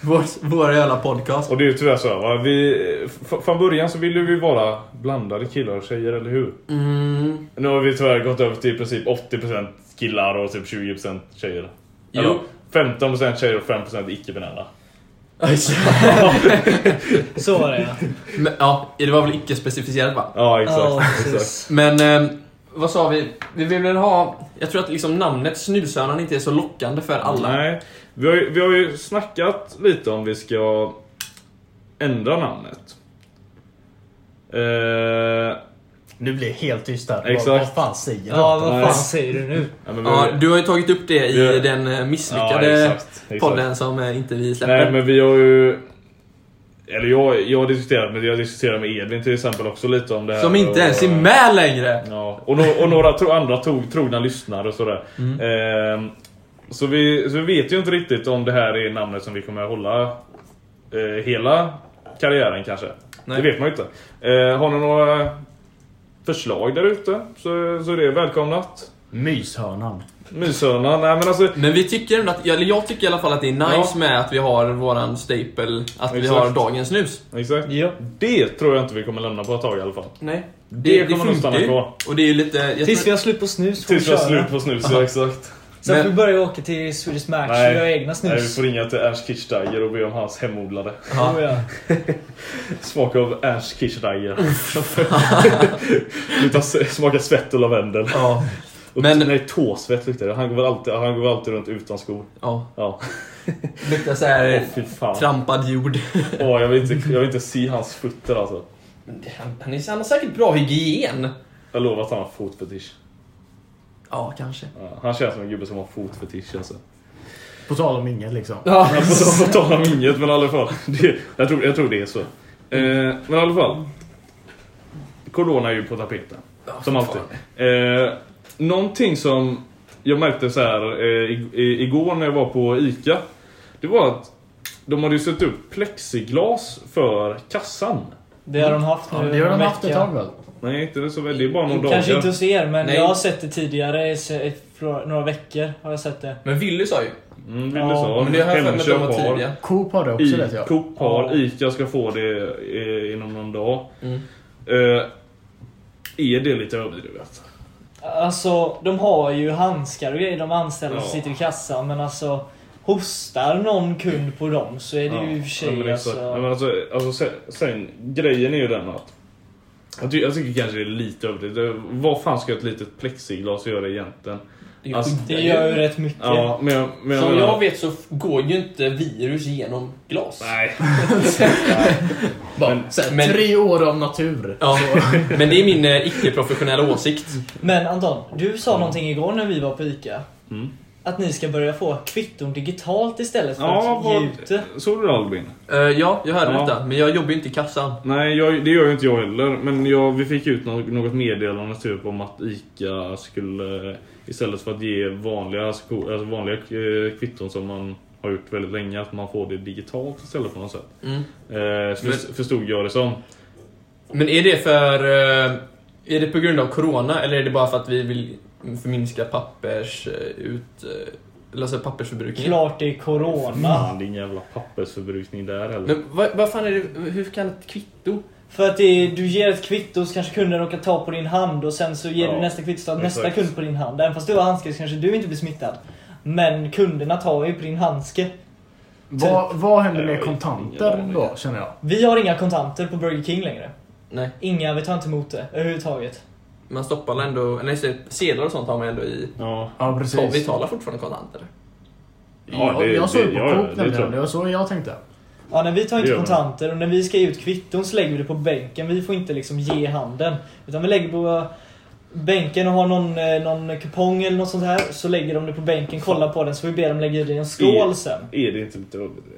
Speaker 4: vår, vår jävla podcast.
Speaker 2: Och det är ju tyvärr så här, va? Vi, f- från början så ville vi vara blandade killar och tjejer, eller hur?
Speaker 4: Mm,
Speaker 2: Nu har vi tyvärr gått över till i princip 80% killar och typ 20% tjejer.
Speaker 4: Jo.
Speaker 2: Eller, 15% tjejer och 5% icke-binära.
Speaker 4: alltså.
Speaker 1: Så var det ja.
Speaker 4: Men, ja, det var väl icke specificerat va?
Speaker 2: Ja, exakt.
Speaker 1: Ja,
Speaker 2: exakt.
Speaker 1: precis.
Speaker 4: Men eh, vad sa vi? Vi vill väl ha... Jag tror att liksom namnet Snushörnan inte är så lockande för alla.
Speaker 2: Nej. Vi har, ju, vi har ju snackat lite om vi ska ändra namnet. Eh,
Speaker 5: Nu blir det helt tyst här. Vad-
Speaker 2: Exakt.
Speaker 5: Vad fan säger
Speaker 1: Ja,
Speaker 5: han?
Speaker 1: vad
Speaker 2: Nej.
Speaker 1: fan säger du nu?
Speaker 2: ja, men vi,
Speaker 4: Ja, du har ju tagit upp det i
Speaker 2: Ja.
Speaker 4: den eh,
Speaker 2: Ja,
Speaker 4: misslyckade
Speaker 2: exakt, exakt.
Speaker 4: podden som eh, inte vi släpper.
Speaker 2: Nej men vi har ju... Eller jag, jag har diskuterat med, jag diskuterar med Edvin till exempel också lite om det här.
Speaker 4: Som inte
Speaker 2: och,
Speaker 4: ens är med längre!
Speaker 2: Ja, och, no, och några tro, andra tog, trogna lyssnare och sådär. Ehm, så, vi, så vi vet ju inte riktigt om det här är namnet som vi kommer att hålla eh, hela karriären kanske.
Speaker 4: Nej.
Speaker 2: Det vet man ju inte. Eh, har ni några förslag där ute så, så är det välkomnat.
Speaker 5: Myshörnan.
Speaker 2: Myshörnan, nej men alltså...
Speaker 4: Men vi tycker ändå att, eller jag tycker i alla fall att det är nice
Speaker 2: Ja.
Speaker 4: med att vi har våran staple, att vi
Speaker 2: Exakt.
Speaker 4: har dagens snus.
Speaker 2: Exakt.
Speaker 1: Ja.
Speaker 2: Det tror jag inte vi kommer lämna på ett tag i alla fall.
Speaker 4: Nej.
Speaker 2: Det kommer nog stanna
Speaker 4: ju.
Speaker 2: kvar.
Speaker 4: Och det är ju lite... Jag
Speaker 1: Tills vi
Speaker 4: tror,
Speaker 1: har slut på snus får vi
Speaker 2: Tills vi har
Speaker 1: köra.
Speaker 2: slut på snus, ja exakt.
Speaker 1: Sen får
Speaker 4: Men-
Speaker 1: vi börja åka till Swedish Match och
Speaker 2: Nej.
Speaker 1: göra egna
Speaker 2: Nej, vi
Speaker 1: snus.
Speaker 2: får ringa till Ernst Kirchsteiger och be om hans hemodlade.
Speaker 4: Ja.
Speaker 1: Oh, ja.
Speaker 2: Smak av Ernst Kirchsteiger. Luktar s- Smakar svett och lavendel.
Speaker 4: ja,
Speaker 2: Och
Speaker 4: Men-
Speaker 2: Nej, tåsvett luktar det. Han går, väl alltid, han går väl alltid runt utan skor.
Speaker 4: ja.
Speaker 2: Ja.
Speaker 4: Luktar
Speaker 2: Åh
Speaker 4: såhär
Speaker 2: fy fan.
Speaker 4: trampad jord.
Speaker 2: Åh, jag, vill inte, jag vill inte se hans fötter alltså.
Speaker 4: Han, han, är, han har säkert bra hygien.
Speaker 2: Jag lovar att han har fotfetisch.
Speaker 4: Ja, kanske.
Speaker 2: Ja, han känns som en gubbe som har fotfetisch alltså.
Speaker 5: På tal om inget liksom.
Speaker 4: Ja.
Speaker 2: Men På, på tal om inget, men i alla fall. Det, jag, tror, jag tror det är så. Eh, men i alla fall. Corona är ju på tapeten. Som alltid. Eh, någonting som jag märkte så här eh, i- i- igår när jag var på ICA. Det var att de hade ju satt upp plexiglas för kassan.
Speaker 1: Det har de haft nu
Speaker 5: Ja, det har de
Speaker 1: en
Speaker 5: haft ett
Speaker 1: vecka.
Speaker 5: tag väl?
Speaker 2: Nej, inte det så väl. Det är bara några
Speaker 1: Kanske inte
Speaker 2: dagar.
Speaker 1: hos er, men
Speaker 4: Nej.
Speaker 1: jag har sett det tidigare i se- i flera- några veckor. Har jag sett det.
Speaker 4: Men Willy sa ju.
Speaker 2: Mm, vill
Speaker 1: Ja,
Speaker 2: du så?
Speaker 4: Men det har jag för mig att de
Speaker 2: Hemköp
Speaker 4: var
Speaker 2: har.
Speaker 4: tidiga.
Speaker 5: Coop har det också vet
Speaker 2: I,
Speaker 5: jag.
Speaker 2: Coop har,
Speaker 1: Ja.
Speaker 2: ICA ska få det eh, inom någon dag.
Speaker 4: Mm.
Speaker 2: Eh, är det lite överdrivet?
Speaker 1: Alltså, de har ju handskar och grejer, de anställda som
Speaker 2: Ja.
Speaker 1: sitter i kassan, men alltså Hostar någon kund på dem så är det ju i och för
Speaker 2: ja,
Speaker 1: sig
Speaker 2: men exakt.
Speaker 1: alltså...
Speaker 2: Ja, men alltså, alltså sen, sen, grejen är ju den att Jag, ty- jag tycker kanske det är lite överdrivet. Vad fan ska ett litet plexiglas göra egentligen?
Speaker 4: Det är
Speaker 2: Alltså,
Speaker 4: skit.
Speaker 1: Det gör ju rätt mycket.
Speaker 2: Ja, men jag, men jag
Speaker 4: Som
Speaker 2: menar-
Speaker 4: jag vet så f- går ju inte virus genom glas.
Speaker 2: Nej.
Speaker 5: Bara,
Speaker 2: Men-
Speaker 5: så här,
Speaker 4: men-
Speaker 5: Tre år av natur.
Speaker 4: Ja, men det är min eh, icke-professionella åsikt.
Speaker 1: Men Anton, du sa någonting igår när vi var på ICA.
Speaker 2: Mm.
Speaker 1: Att ni ska börja få kvitton digitalt istället för
Speaker 2: Ja,
Speaker 1: att ge ut
Speaker 2: vad...
Speaker 1: det.
Speaker 2: Såg du det, Albin?
Speaker 4: Eh, ja, jag hörde
Speaker 2: Ja.
Speaker 4: detta, men jag jobbar ju inte i kassan.
Speaker 2: Nej, jag, det gör ju inte jag heller. Men jag, vi fick ut något, något meddelande typ om att ICA skulle eh, istället för att ge vanliga, alltså, ko- alltså vanliga eh, kvitton som man har gjort väldigt länge, att man får det digitalt istället på något sätt.
Speaker 4: Mm.
Speaker 2: Eh, så först- förstod jag det som.
Speaker 4: Men är det för... eh, är det på grund av corona, eller är det bara för att vi vill förminska pappers... eh, ut, eh, eller alltså pappersförbrukningen?
Speaker 1: Klart det är corona.
Speaker 2: Fan, mm. din jävla pappersförbrukning där heller.
Speaker 4: Men vad, vad fan är det... Hur kan ett kvitto?
Speaker 1: För att det är, du ger ett kvitto så kanske kunden råkar ta på din hand och sen så ger
Speaker 2: Ja,
Speaker 1: du nästa kvitto så att
Speaker 2: exakt.
Speaker 1: nästa kund på din hand. Även fast du har handske så kanske du inte blir smittad. Men kunderna tar ju på din handske.
Speaker 5: Vad, vad händer
Speaker 2: Jag
Speaker 5: med
Speaker 2: har
Speaker 5: kontanter
Speaker 2: ingen aning.
Speaker 5: då, känner jag?
Speaker 1: Vi har inga kontanter på Burger King längre.
Speaker 4: Nej,
Speaker 1: Inga, vi tar inte emot det överhuvudtaget.
Speaker 4: man stoppar väl ändå... Nej, se- sedlar och sånt har man ändå i...
Speaker 2: Ja.
Speaker 4: Ta,
Speaker 5: Ja,
Speaker 4: vi
Speaker 5: precis.
Speaker 4: talar fortfarande kontanter.
Speaker 2: Ja,
Speaker 5: jag,
Speaker 2: det-
Speaker 5: jag såg
Speaker 2: det-
Speaker 5: på
Speaker 2: ja,
Speaker 5: Coop
Speaker 2: det tror
Speaker 5: nämligen.
Speaker 2: jag.
Speaker 5: Det var så jag tänkte.
Speaker 1: Ja, när vi tar
Speaker 2: Det
Speaker 1: inte
Speaker 2: gör man.
Speaker 1: kontanter och när vi ska ge ut kvitton så lägger vi det på bänken. Vi får inte liksom ge handen. Utan vi lägger på bänken och har någon, eh, någon kupong eller något sånt här. Så lägger de det på bänken, kollar på den så får vi be dem lägga i det i en skål
Speaker 2: I-
Speaker 1: sen.
Speaker 2: Är det inte lite överdrivet?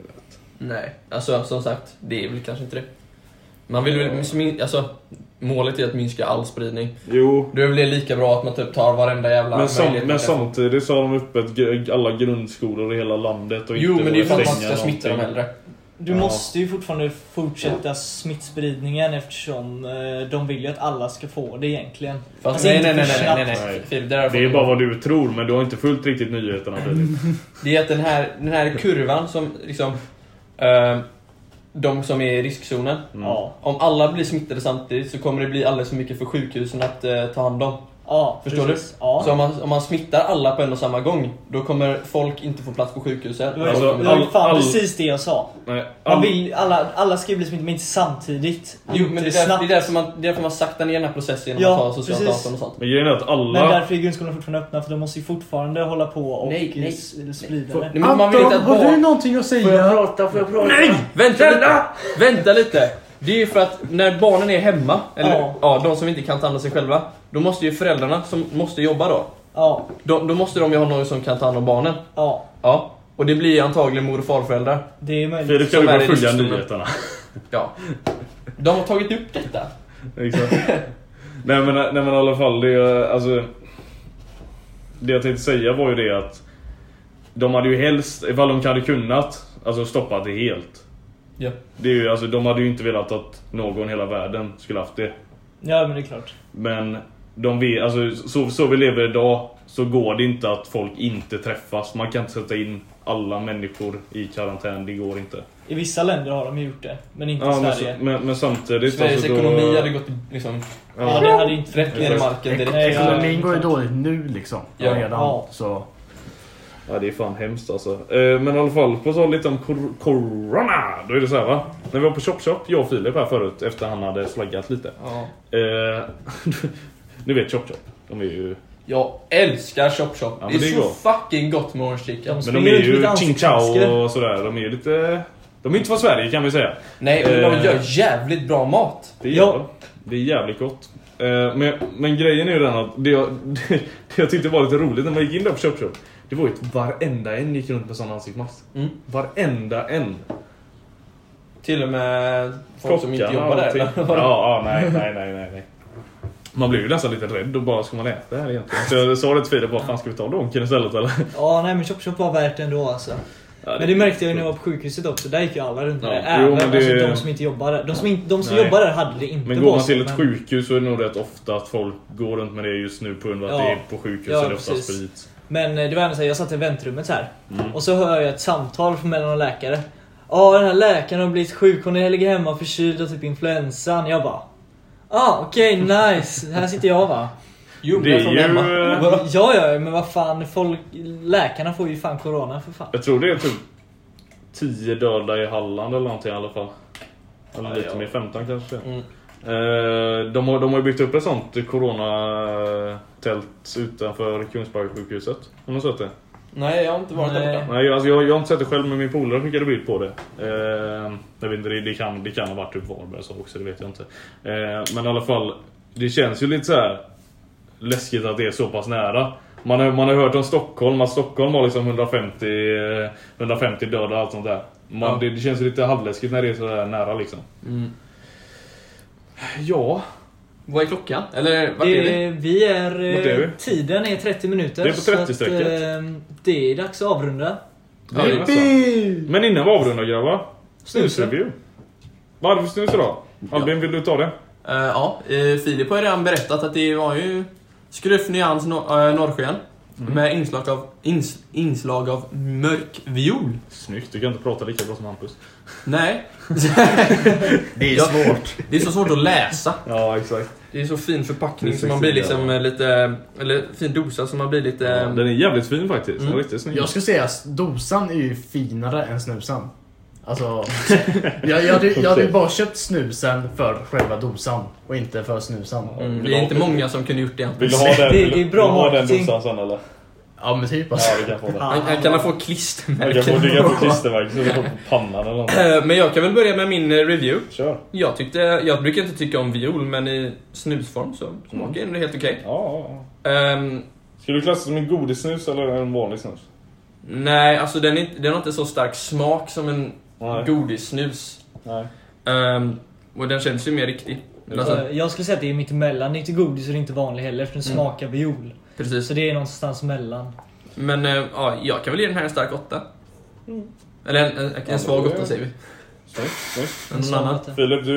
Speaker 4: Nej, alltså som sagt, det är väl kanske inte det. Man vill väl... min- Alltså, målet är att minska all spridning.
Speaker 2: Jo,
Speaker 4: Då är väl det lika bra att man typ tar varenda jävla
Speaker 2: Men, sam,
Speaker 4: möjlighet man
Speaker 2: men
Speaker 4: kan få.
Speaker 2: samtidigt så har de öppet gr- alla grundskolor i hela landet och
Speaker 4: Jo,
Speaker 2: inte
Speaker 4: men det är ju för
Speaker 2: vågar
Speaker 4: att man
Speaker 2: stänga
Speaker 4: ska smitta de
Speaker 2: någonting.
Speaker 4: äldre.
Speaker 1: Du
Speaker 2: Ja.
Speaker 1: måste ju fortfarande fortsätta smittspridningen eftersom eh, de vill ju att alla ska få det egentligen.
Speaker 4: Fast
Speaker 1: Alltså,
Speaker 4: nej,
Speaker 1: inte
Speaker 4: nej, nej,
Speaker 1: för
Speaker 4: nej, nej, nej,
Speaker 2: snabbt.
Speaker 4: nej. Filip, det, där
Speaker 2: Det är bara vad du tror, men du har inte följt riktigt nyheterna Filip.
Speaker 4: det är att den här, den här kurvan som liksom... eh, de som är i riskzonen.
Speaker 2: Mm.
Speaker 1: Ja.
Speaker 4: Om alla blir smittade samtidigt så kommer det bli alldeles för mycket för sjukhusen att eh, ta hand om.
Speaker 1: ja
Speaker 4: Förstår
Speaker 1: precis. Ja.
Speaker 4: Så om man, om man smittar alla på en och samma gång, då kommer folk inte få plats på sjukhuset.
Speaker 1: Det var ju-
Speaker 2: Alltså,
Speaker 1: det var ju
Speaker 2: all-
Speaker 1: fan
Speaker 2: all-
Speaker 1: precis det jag sa.
Speaker 2: Nej,
Speaker 1: Man
Speaker 2: all,
Speaker 1: vill, alla, alla ska ju bli smittade men inte samtidigt.
Speaker 4: Jo, men
Speaker 1: Inte
Speaker 4: det är, därför,
Speaker 1: snabbt.
Speaker 4: det är därför man, det är därför man saktar ner den här processen genom
Speaker 1: Ja,
Speaker 4: att ta socialt
Speaker 1: precis.
Speaker 4: avstånd och sånt.
Speaker 2: men grejen är att
Speaker 1: Men
Speaker 2: alla...
Speaker 1: därför är grundskolan fortfarande öppna för de måste ju fortfarande hålla på och
Speaker 4: Nej, nej,
Speaker 1: s- sprida det.
Speaker 4: Nej, men man vill inte att barn...
Speaker 5: någonting att säga? Får jag prata? Får jag prata? Nej!
Speaker 4: Vänta lite! Vänta lite! Det är ju för att när barnen är hemma, eller
Speaker 1: Ja.
Speaker 4: ja. de som inte kan ta hand om sig själva, då måste ju föräldrarna som måste jobba då.
Speaker 1: Ja,
Speaker 4: Då, då måste de ju ha någon som kan ta hand om barnen.
Speaker 1: ja.
Speaker 4: Ja. Och det blir ju antagligen mor och farföräldrar.
Speaker 1: Det är möjligt.
Speaker 2: Filip kan
Speaker 4: som
Speaker 2: du
Speaker 4: är
Speaker 2: bara
Speaker 4: i
Speaker 2: följa
Speaker 4: riskzonen.
Speaker 2: nyheterna.
Speaker 4: Ja. De har tagit upp detta.
Speaker 2: Exakt. nej, men, nej men i alla fall, det, är, alltså, det jag tänkte säga var ju det att de hade ju helst, ifall de hade kunnat, alltså stoppat det helt.
Speaker 4: Ja.
Speaker 2: Det är ju, alltså, de hade ju inte velat att någon i hela världen skulle haft det.
Speaker 1: Ja men det är klart.
Speaker 2: Men de vet, alltså, så, så vi lever idag så går det inte att folk inte träffas. Man kan inte sätta in alla människor i karantän, det går inte.
Speaker 1: I vissa länder har de ju gjort det, men inte i
Speaker 2: Ja, men,
Speaker 1: Sverige.
Speaker 2: så- men, men samtidigt...
Speaker 4: Sveriges
Speaker 2: alltså, då-
Speaker 4: ekonomi hade gått liksom
Speaker 1: Ja,
Speaker 2: Ja,
Speaker 1: det hade inte
Speaker 4: rätt ner i marken direkt.
Speaker 1: Nej, ja,
Speaker 5: Ekonomin går ju
Speaker 1: exakt.
Speaker 5: dåligt nu liksom.
Speaker 4: Ja.
Speaker 5: Redan.
Speaker 1: Ja.
Speaker 5: Så.
Speaker 2: ja, det är fan hemskt alltså. Eh, Men i alla fall, på tal lite om kor- corona. Då är det så här va. När vi var på Chop Chop, jag och Filip här förut, efter han hade slaggat lite.
Speaker 4: Ja.
Speaker 2: Eh, Ni vet Chop Chop. De är ju...
Speaker 4: Jag älskar Chop Chop.
Speaker 2: Ja, men
Speaker 4: det är,
Speaker 2: det är
Speaker 4: så
Speaker 2: gott.
Speaker 4: fucking gott med
Speaker 1: De
Speaker 4: orangekicka.
Speaker 2: Men de
Speaker 1: springer
Speaker 2: är
Speaker 1: ut med
Speaker 2: ju
Speaker 1: lite
Speaker 2: Ching Chao
Speaker 1: ansiktmasker.
Speaker 2: och sådär. De är ju lite... De är inte från Sverige kan vi säga.
Speaker 4: Nej, och de
Speaker 2: Eh.
Speaker 4: gör jävligt bra mat.
Speaker 2: Det är,
Speaker 1: Ja.
Speaker 2: ja. det är jävligt gott. Eh, Men, men grejen är ju den att det jag, det, jag tyckte var lite roligt när man gick in där på Chop Chop. Det var ju att varenda en gick runt med sån ansiktsmask.
Speaker 4: Mm.
Speaker 2: Varenda en.
Speaker 4: Till och med folk som inte
Speaker 2: Kockarna
Speaker 4: jobbar
Speaker 2: och
Speaker 4: där.
Speaker 2: allting.
Speaker 4: eller?
Speaker 2: Ja, ja, nej, nej, nej, nej, nej. Man blir ju nästan lite rädd och bara, ska man äta det här egentligen? Så jag sa det till Filip, bara, fan ska vi ta Donken istället eller?
Speaker 1: Ja, nej men Chop Chop var värt det ändå alltså. Men det märkte jag ju när jag var på sjukhuset också, där gick ju alla runt med
Speaker 2: Ja.
Speaker 1: det. Även
Speaker 2: Jo, men det-
Speaker 1: alltså, de som inte jobbar där. De som, inte, de som
Speaker 2: Nej.
Speaker 1: jobbar där hade det inte
Speaker 2: Men går
Speaker 1: på
Speaker 2: man
Speaker 1: sig,
Speaker 2: till ett
Speaker 1: men-
Speaker 2: sjukhus så är det nog rätt ofta att folk går runt med det just nu på grund av att
Speaker 1: Ja.
Speaker 2: det är på sjukhus
Speaker 1: Ja,
Speaker 2: är det ofta
Speaker 1: precis.
Speaker 2: sprit.
Speaker 1: Men eh, det var ändå såhär, jag satt i väntrummet så här.
Speaker 2: Mm.
Speaker 1: Och så hör jag ett samtal från mellan en läkare. Ja, den här läkaren har blivit sjuk. Hon ligger hemma förkyld och typ influensan. Jag bara. Ja, ah, okej, nice. Här sitter jag va.
Speaker 4: Jo,
Speaker 2: Det
Speaker 4: jag
Speaker 2: är
Speaker 4: från
Speaker 2: ju...
Speaker 4: Emma.
Speaker 2: eh,
Speaker 1: Ja, ja, men vad fan. Folk, läkarna får ju fan corona för fan.
Speaker 2: Jag tror det är typ 10 döda i Halland eller någonting i alla fall. Eller
Speaker 4: Ja,
Speaker 2: lite
Speaker 4: ja.
Speaker 2: mer, 15 kanske.
Speaker 4: Mm.
Speaker 2: Eh, De har, de har ju byggt upp ett sånt coronatält utanför Kungsbergssjukhuset. Har ni sett det?
Speaker 4: Nej, jag har inte varit där
Speaker 1: Nej.
Speaker 4: borta.
Speaker 2: Nej, jag- alltså jag, jag har inte sett det själv men min polare skickade bild på det. Eh, jag vet inte, det, det, kan, det kan ha varit typ Varberg så också, det vet jag inte. Eh, men i alla fall, det känns ju lite så här läskigt att det är så pass nära. Man har, man har hört om Stockholm, att Stockholm har liksom 150, eh, 150 döda och allt sånt där. Man,
Speaker 4: Ja.
Speaker 2: det, det känns ju lite halvläskigt när det är så där nära liksom. Ja,
Speaker 4: Vad är klockan? Eller vart är vi?
Speaker 1: Det, vi är,
Speaker 2: Vart är
Speaker 1: eh,
Speaker 2: vi?
Speaker 1: Tiden är 30 minuter.
Speaker 2: Det är på
Speaker 1: så att,
Speaker 2: 30-strecket.
Speaker 1: eh, Det är dags att avrunda.
Speaker 2: det är det nästan. Men innan vi avrundar grabbar. Snusreview. Vad hade vi för snus idag? Albin, vill du ta det?
Speaker 4: Eh, ja, eh, Filip har ju redan berättat att det var ju Skruff Nyans no- eh, Norrsken. Med inslag av, ins- inslag av mörk viol.
Speaker 2: Snyggt, du kan inte prata lika bra som Hampus.
Speaker 4: Nej,
Speaker 5: Det är
Speaker 4: Ja.
Speaker 5: svårt.
Speaker 4: det är så svårt att läsa.
Speaker 2: Ja, exakt.
Speaker 4: Det är så fin förpackning
Speaker 2: Det är
Speaker 4: så man blir
Speaker 2: sexigt,
Speaker 4: liksom eh, lite... Eller fin dosa så man blir lite...
Speaker 2: Ja,
Speaker 1: Ehm,
Speaker 4: eh,
Speaker 2: den är jävligt fin faktiskt.
Speaker 1: mm.
Speaker 2: Den är Riktigt snygg.
Speaker 5: Jag skulle säga att dosan är ju finare än snusen. Alltså, jag, jag, hade, jag hade ju bara köpt snusen för själva dosan och inte för snusen.
Speaker 4: Mm, det är inte många som kunde gjort det egentligen.
Speaker 2: Vill du ha den,
Speaker 1: Det-
Speaker 2: vill,
Speaker 1: det är
Speaker 2: du-
Speaker 1: bra
Speaker 2: vill du ha den
Speaker 1: marketing.
Speaker 2: dosan sen eller?
Speaker 5: Ja men typ
Speaker 2: Ja,
Speaker 5: alltså.
Speaker 2: du kan få den.
Speaker 1: Ja.
Speaker 4: Han, han kan få
Speaker 2: Du kan få,
Speaker 4: klistermärken.
Speaker 2: du kan få klistermärken så du får på pannan eller något.
Speaker 4: Eh, Men jag kan väl börja med min eh, review.
Speaker 2: Kör.
Speaker 4: Jag, tyckte, jag brukar inte tycka om viol, men i snusform så smakar mm. det helt okej.
Speaker 2: Ja, ja, ja.
Speaker 4: Ehm,
Speaker 2: Ska du klassa som en godissnus eller en vanlig snus?
Speaker 4: nej, alltså den, är, inte- den har inte så stark smak som en
Speaker 2: Nej.
Speaker 4: godissnus.
Speaker 2: Nej.
Speaker 4: Ehm, och den känns ju mer riktig. Men Alltså,
Speaker 1: Eh, Jag skulle säga att det är mitt emellan. Det är inte godis och det är inte vanlig heller för den
Speaker 2: Mm.
Speaker 1: smakar viol.
Speaker 4: precis.
Speaker 1: Så det är någonstans mellan.
Speaker 4: Men eh, ja, jag kan väl ge den här en stark åtta. Eller en, en, en svag åtta säger vi.
Speaker 2: Snyggt, snyggt.
Speaker 4: Men Någon annan?
Speaker 2: Filip, du,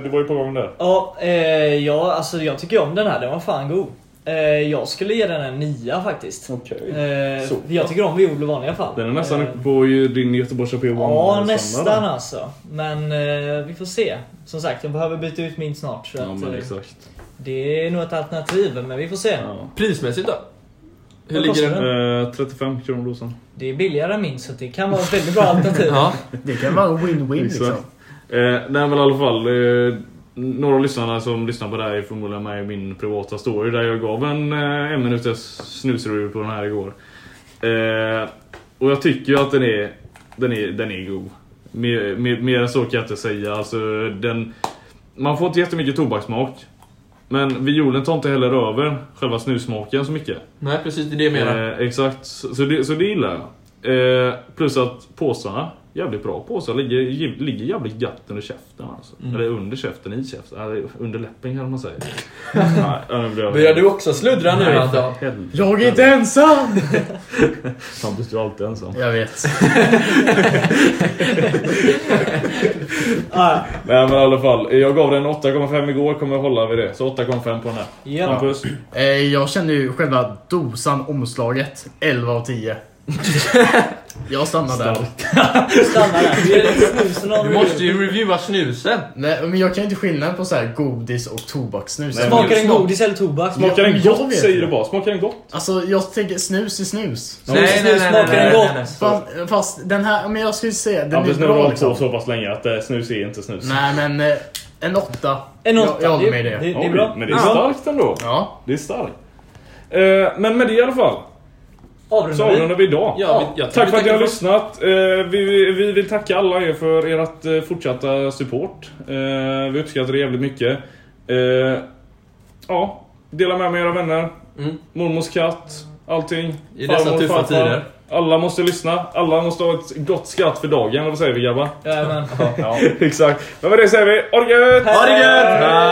Speaker 2: du var ju på gång där.
Speaker 1: Ja, eh, ja, alltså jag tycker om den här. Den var fan god. Eh, jag skulle ge den en nia faktiskt.
Speaker 2: Okej.
Speaker 1: Eh,
Speaker 2: Mm. Så.
Speaker 1: jag tycker om viol i vanliga fall.
Speaker 2: Den är nästan
Speaker 1: Eh,
Speaker 2: uppe på ju din Göteborgs AP1
Speaker 1: Ja, nästan alltså. Men eh, vi får se. Som sagt, jag behöver byta ut min snart. Så
Speaker 2: Ja,
Speaker 1: att,
Speaker 2: men
Speaker 1: eh,
Speaker 2: exakt.
Speaker 1: det är nog ett alternativ, men vi får se.
Speaker 2: Ja.
Speaker 4: Prismässigt då? Hur
Speaker 1: Vad
Speaker 4: ligger
Speaker 1: kostar
Speaker 4: den?
Speaker 1: den?
Speaker 2: Eh, 35 kronor dosan.
Speaker 1: Det är billigare än min, så det kan vara ett väldigt bra alternativ.
Speaker 4: Ja,
Speaker 5: Det kan vara win-win liksom.
Speaker 2: Exakt. Eh, nej men i alla fall. Eh, några av lyssnarna som lyssnar på det här är förmodligen med i min privata story där jag gav en eh, en minuters snusreview på den här igår. Eh, och jag tycker ju att den är, den är, den är god. Mer, mer, mer än så kan jag inte säga. Alltså, den, man får inte jättemycket tobakssmak. Men violen tar inte heller över själva snussmaken så mycket.
Speaker 4: nej precis det är det jag menar.
Speaker 2: Eh, exakt, så, så, det, så det gillar jag. Eh, plus att påsarna, jävligt bra påsar, ligger, giv- ligger jävligt gött under käften. Alltså.
Speaker 5: Mm.
Speaker 2: Eller under käften, i käften, eller under läppen kan man säga. Nej, ja, nu blir jag-
Speaker 4: Börjar du också sluddra nu
Speaker 2: Nej,
Speaker 4: alltså?
Speaker 2: för helvete.
Speaker 5: Jag är inte ensam!
Speaker 2: Hampus, du är alltid ensam.
Speaker 5: Jag vet.
Speaker 1: Ah,
Speaker 2: Nej men i alla fall, jag gav den 8,5 igår, kommer jag hålla vid det. Så 8,5 på den här.
Speaker 1: Ja.
Speaker 2: Hampus?
Speaker 5: Eh, Jag känner ju själva dosan, omslaget, 11 av 10. Jag stannar där.
Speaker 1: stanna där. Det är snusen av
Speaker 4: Du måste ju reviewa snusen.
Speaker 5: Nej, men jag kan inte skillnad på så här godis och tobakssnus.
Speaker 2: Nej,
Speaker 1: Smakar den
Speaker 4: Smak.
Speaker 1: godis eller tobak?
Speaker 5: Smak.
Speaker 2: Smakar den
Speaker 5: Jag
Speaker 2: gott
Speaker 5: vet
Speaker 2: säger
Speaker 5: det.
Speaker 2: du bara, smakar den gott?
Speaker 5: Alltså jag tänker snus i snus.
Speaker 1: Snus, snus, smakar den gott?
Speaker 5: Fast, fast den här, men jag skulle säga den
Speaker 2: Hampus,
Speaker 5: är
Speaker 2: nu har du
Speaker 5: bra
Speaker 2: hållit på
Speaker 5: liksom.
Speaker 2: så pass länge att eh, snus är inte snus.
Speaker 5: Nej men eh, en åtta.
Speaker 1: En åtta.
Speaker 5: Jag, jag håller med i
Speaker 1: det. Det,
Speaker 5: det.
Speaker 1: det är
Speaker 2: Oj,
Speaker 1: bra.
Speaker 2: Men det är
Speaker 5: Ja.
Speaker 2: starkt ändå.
Speaker 5: Ja.
Speaker 2: Det är starkt. Eh, men med det i alla fall. Så
Speaker 1: Avrundar vi?
Speaker 2: avrundar vi idag.
Speaker 4: Ja, vi- jag tror
Speaker 2: Tack
Speaker 4: vi
Speaker 2: för att ni
Speaker 4: tackar
Speaker 2: har lyssnat.
Speaker 4: för-
Speaker 2: Eh, Vi, vi vill tacka alla er för ert eh, fortsatta support. Eh, Vi uppskattar det jävligt mycket. Eh, Ja, dela med mig av era vänner.
Speaker 4: Mm.
Speaker 2: Mormors katt, allting.
Speaker 4: I dessa tuffa tider.
Speaker 2: Alla måste lyssna. Alla måste ha ett gott skratt för dagen. Vad säger vi grabbar?
Speaker 1: Jajamän.
Speaker 2: Exakt. Men med det säger vi, ha det gött!
Speaker 1: Ha det gött!
Speaker 2: Hej!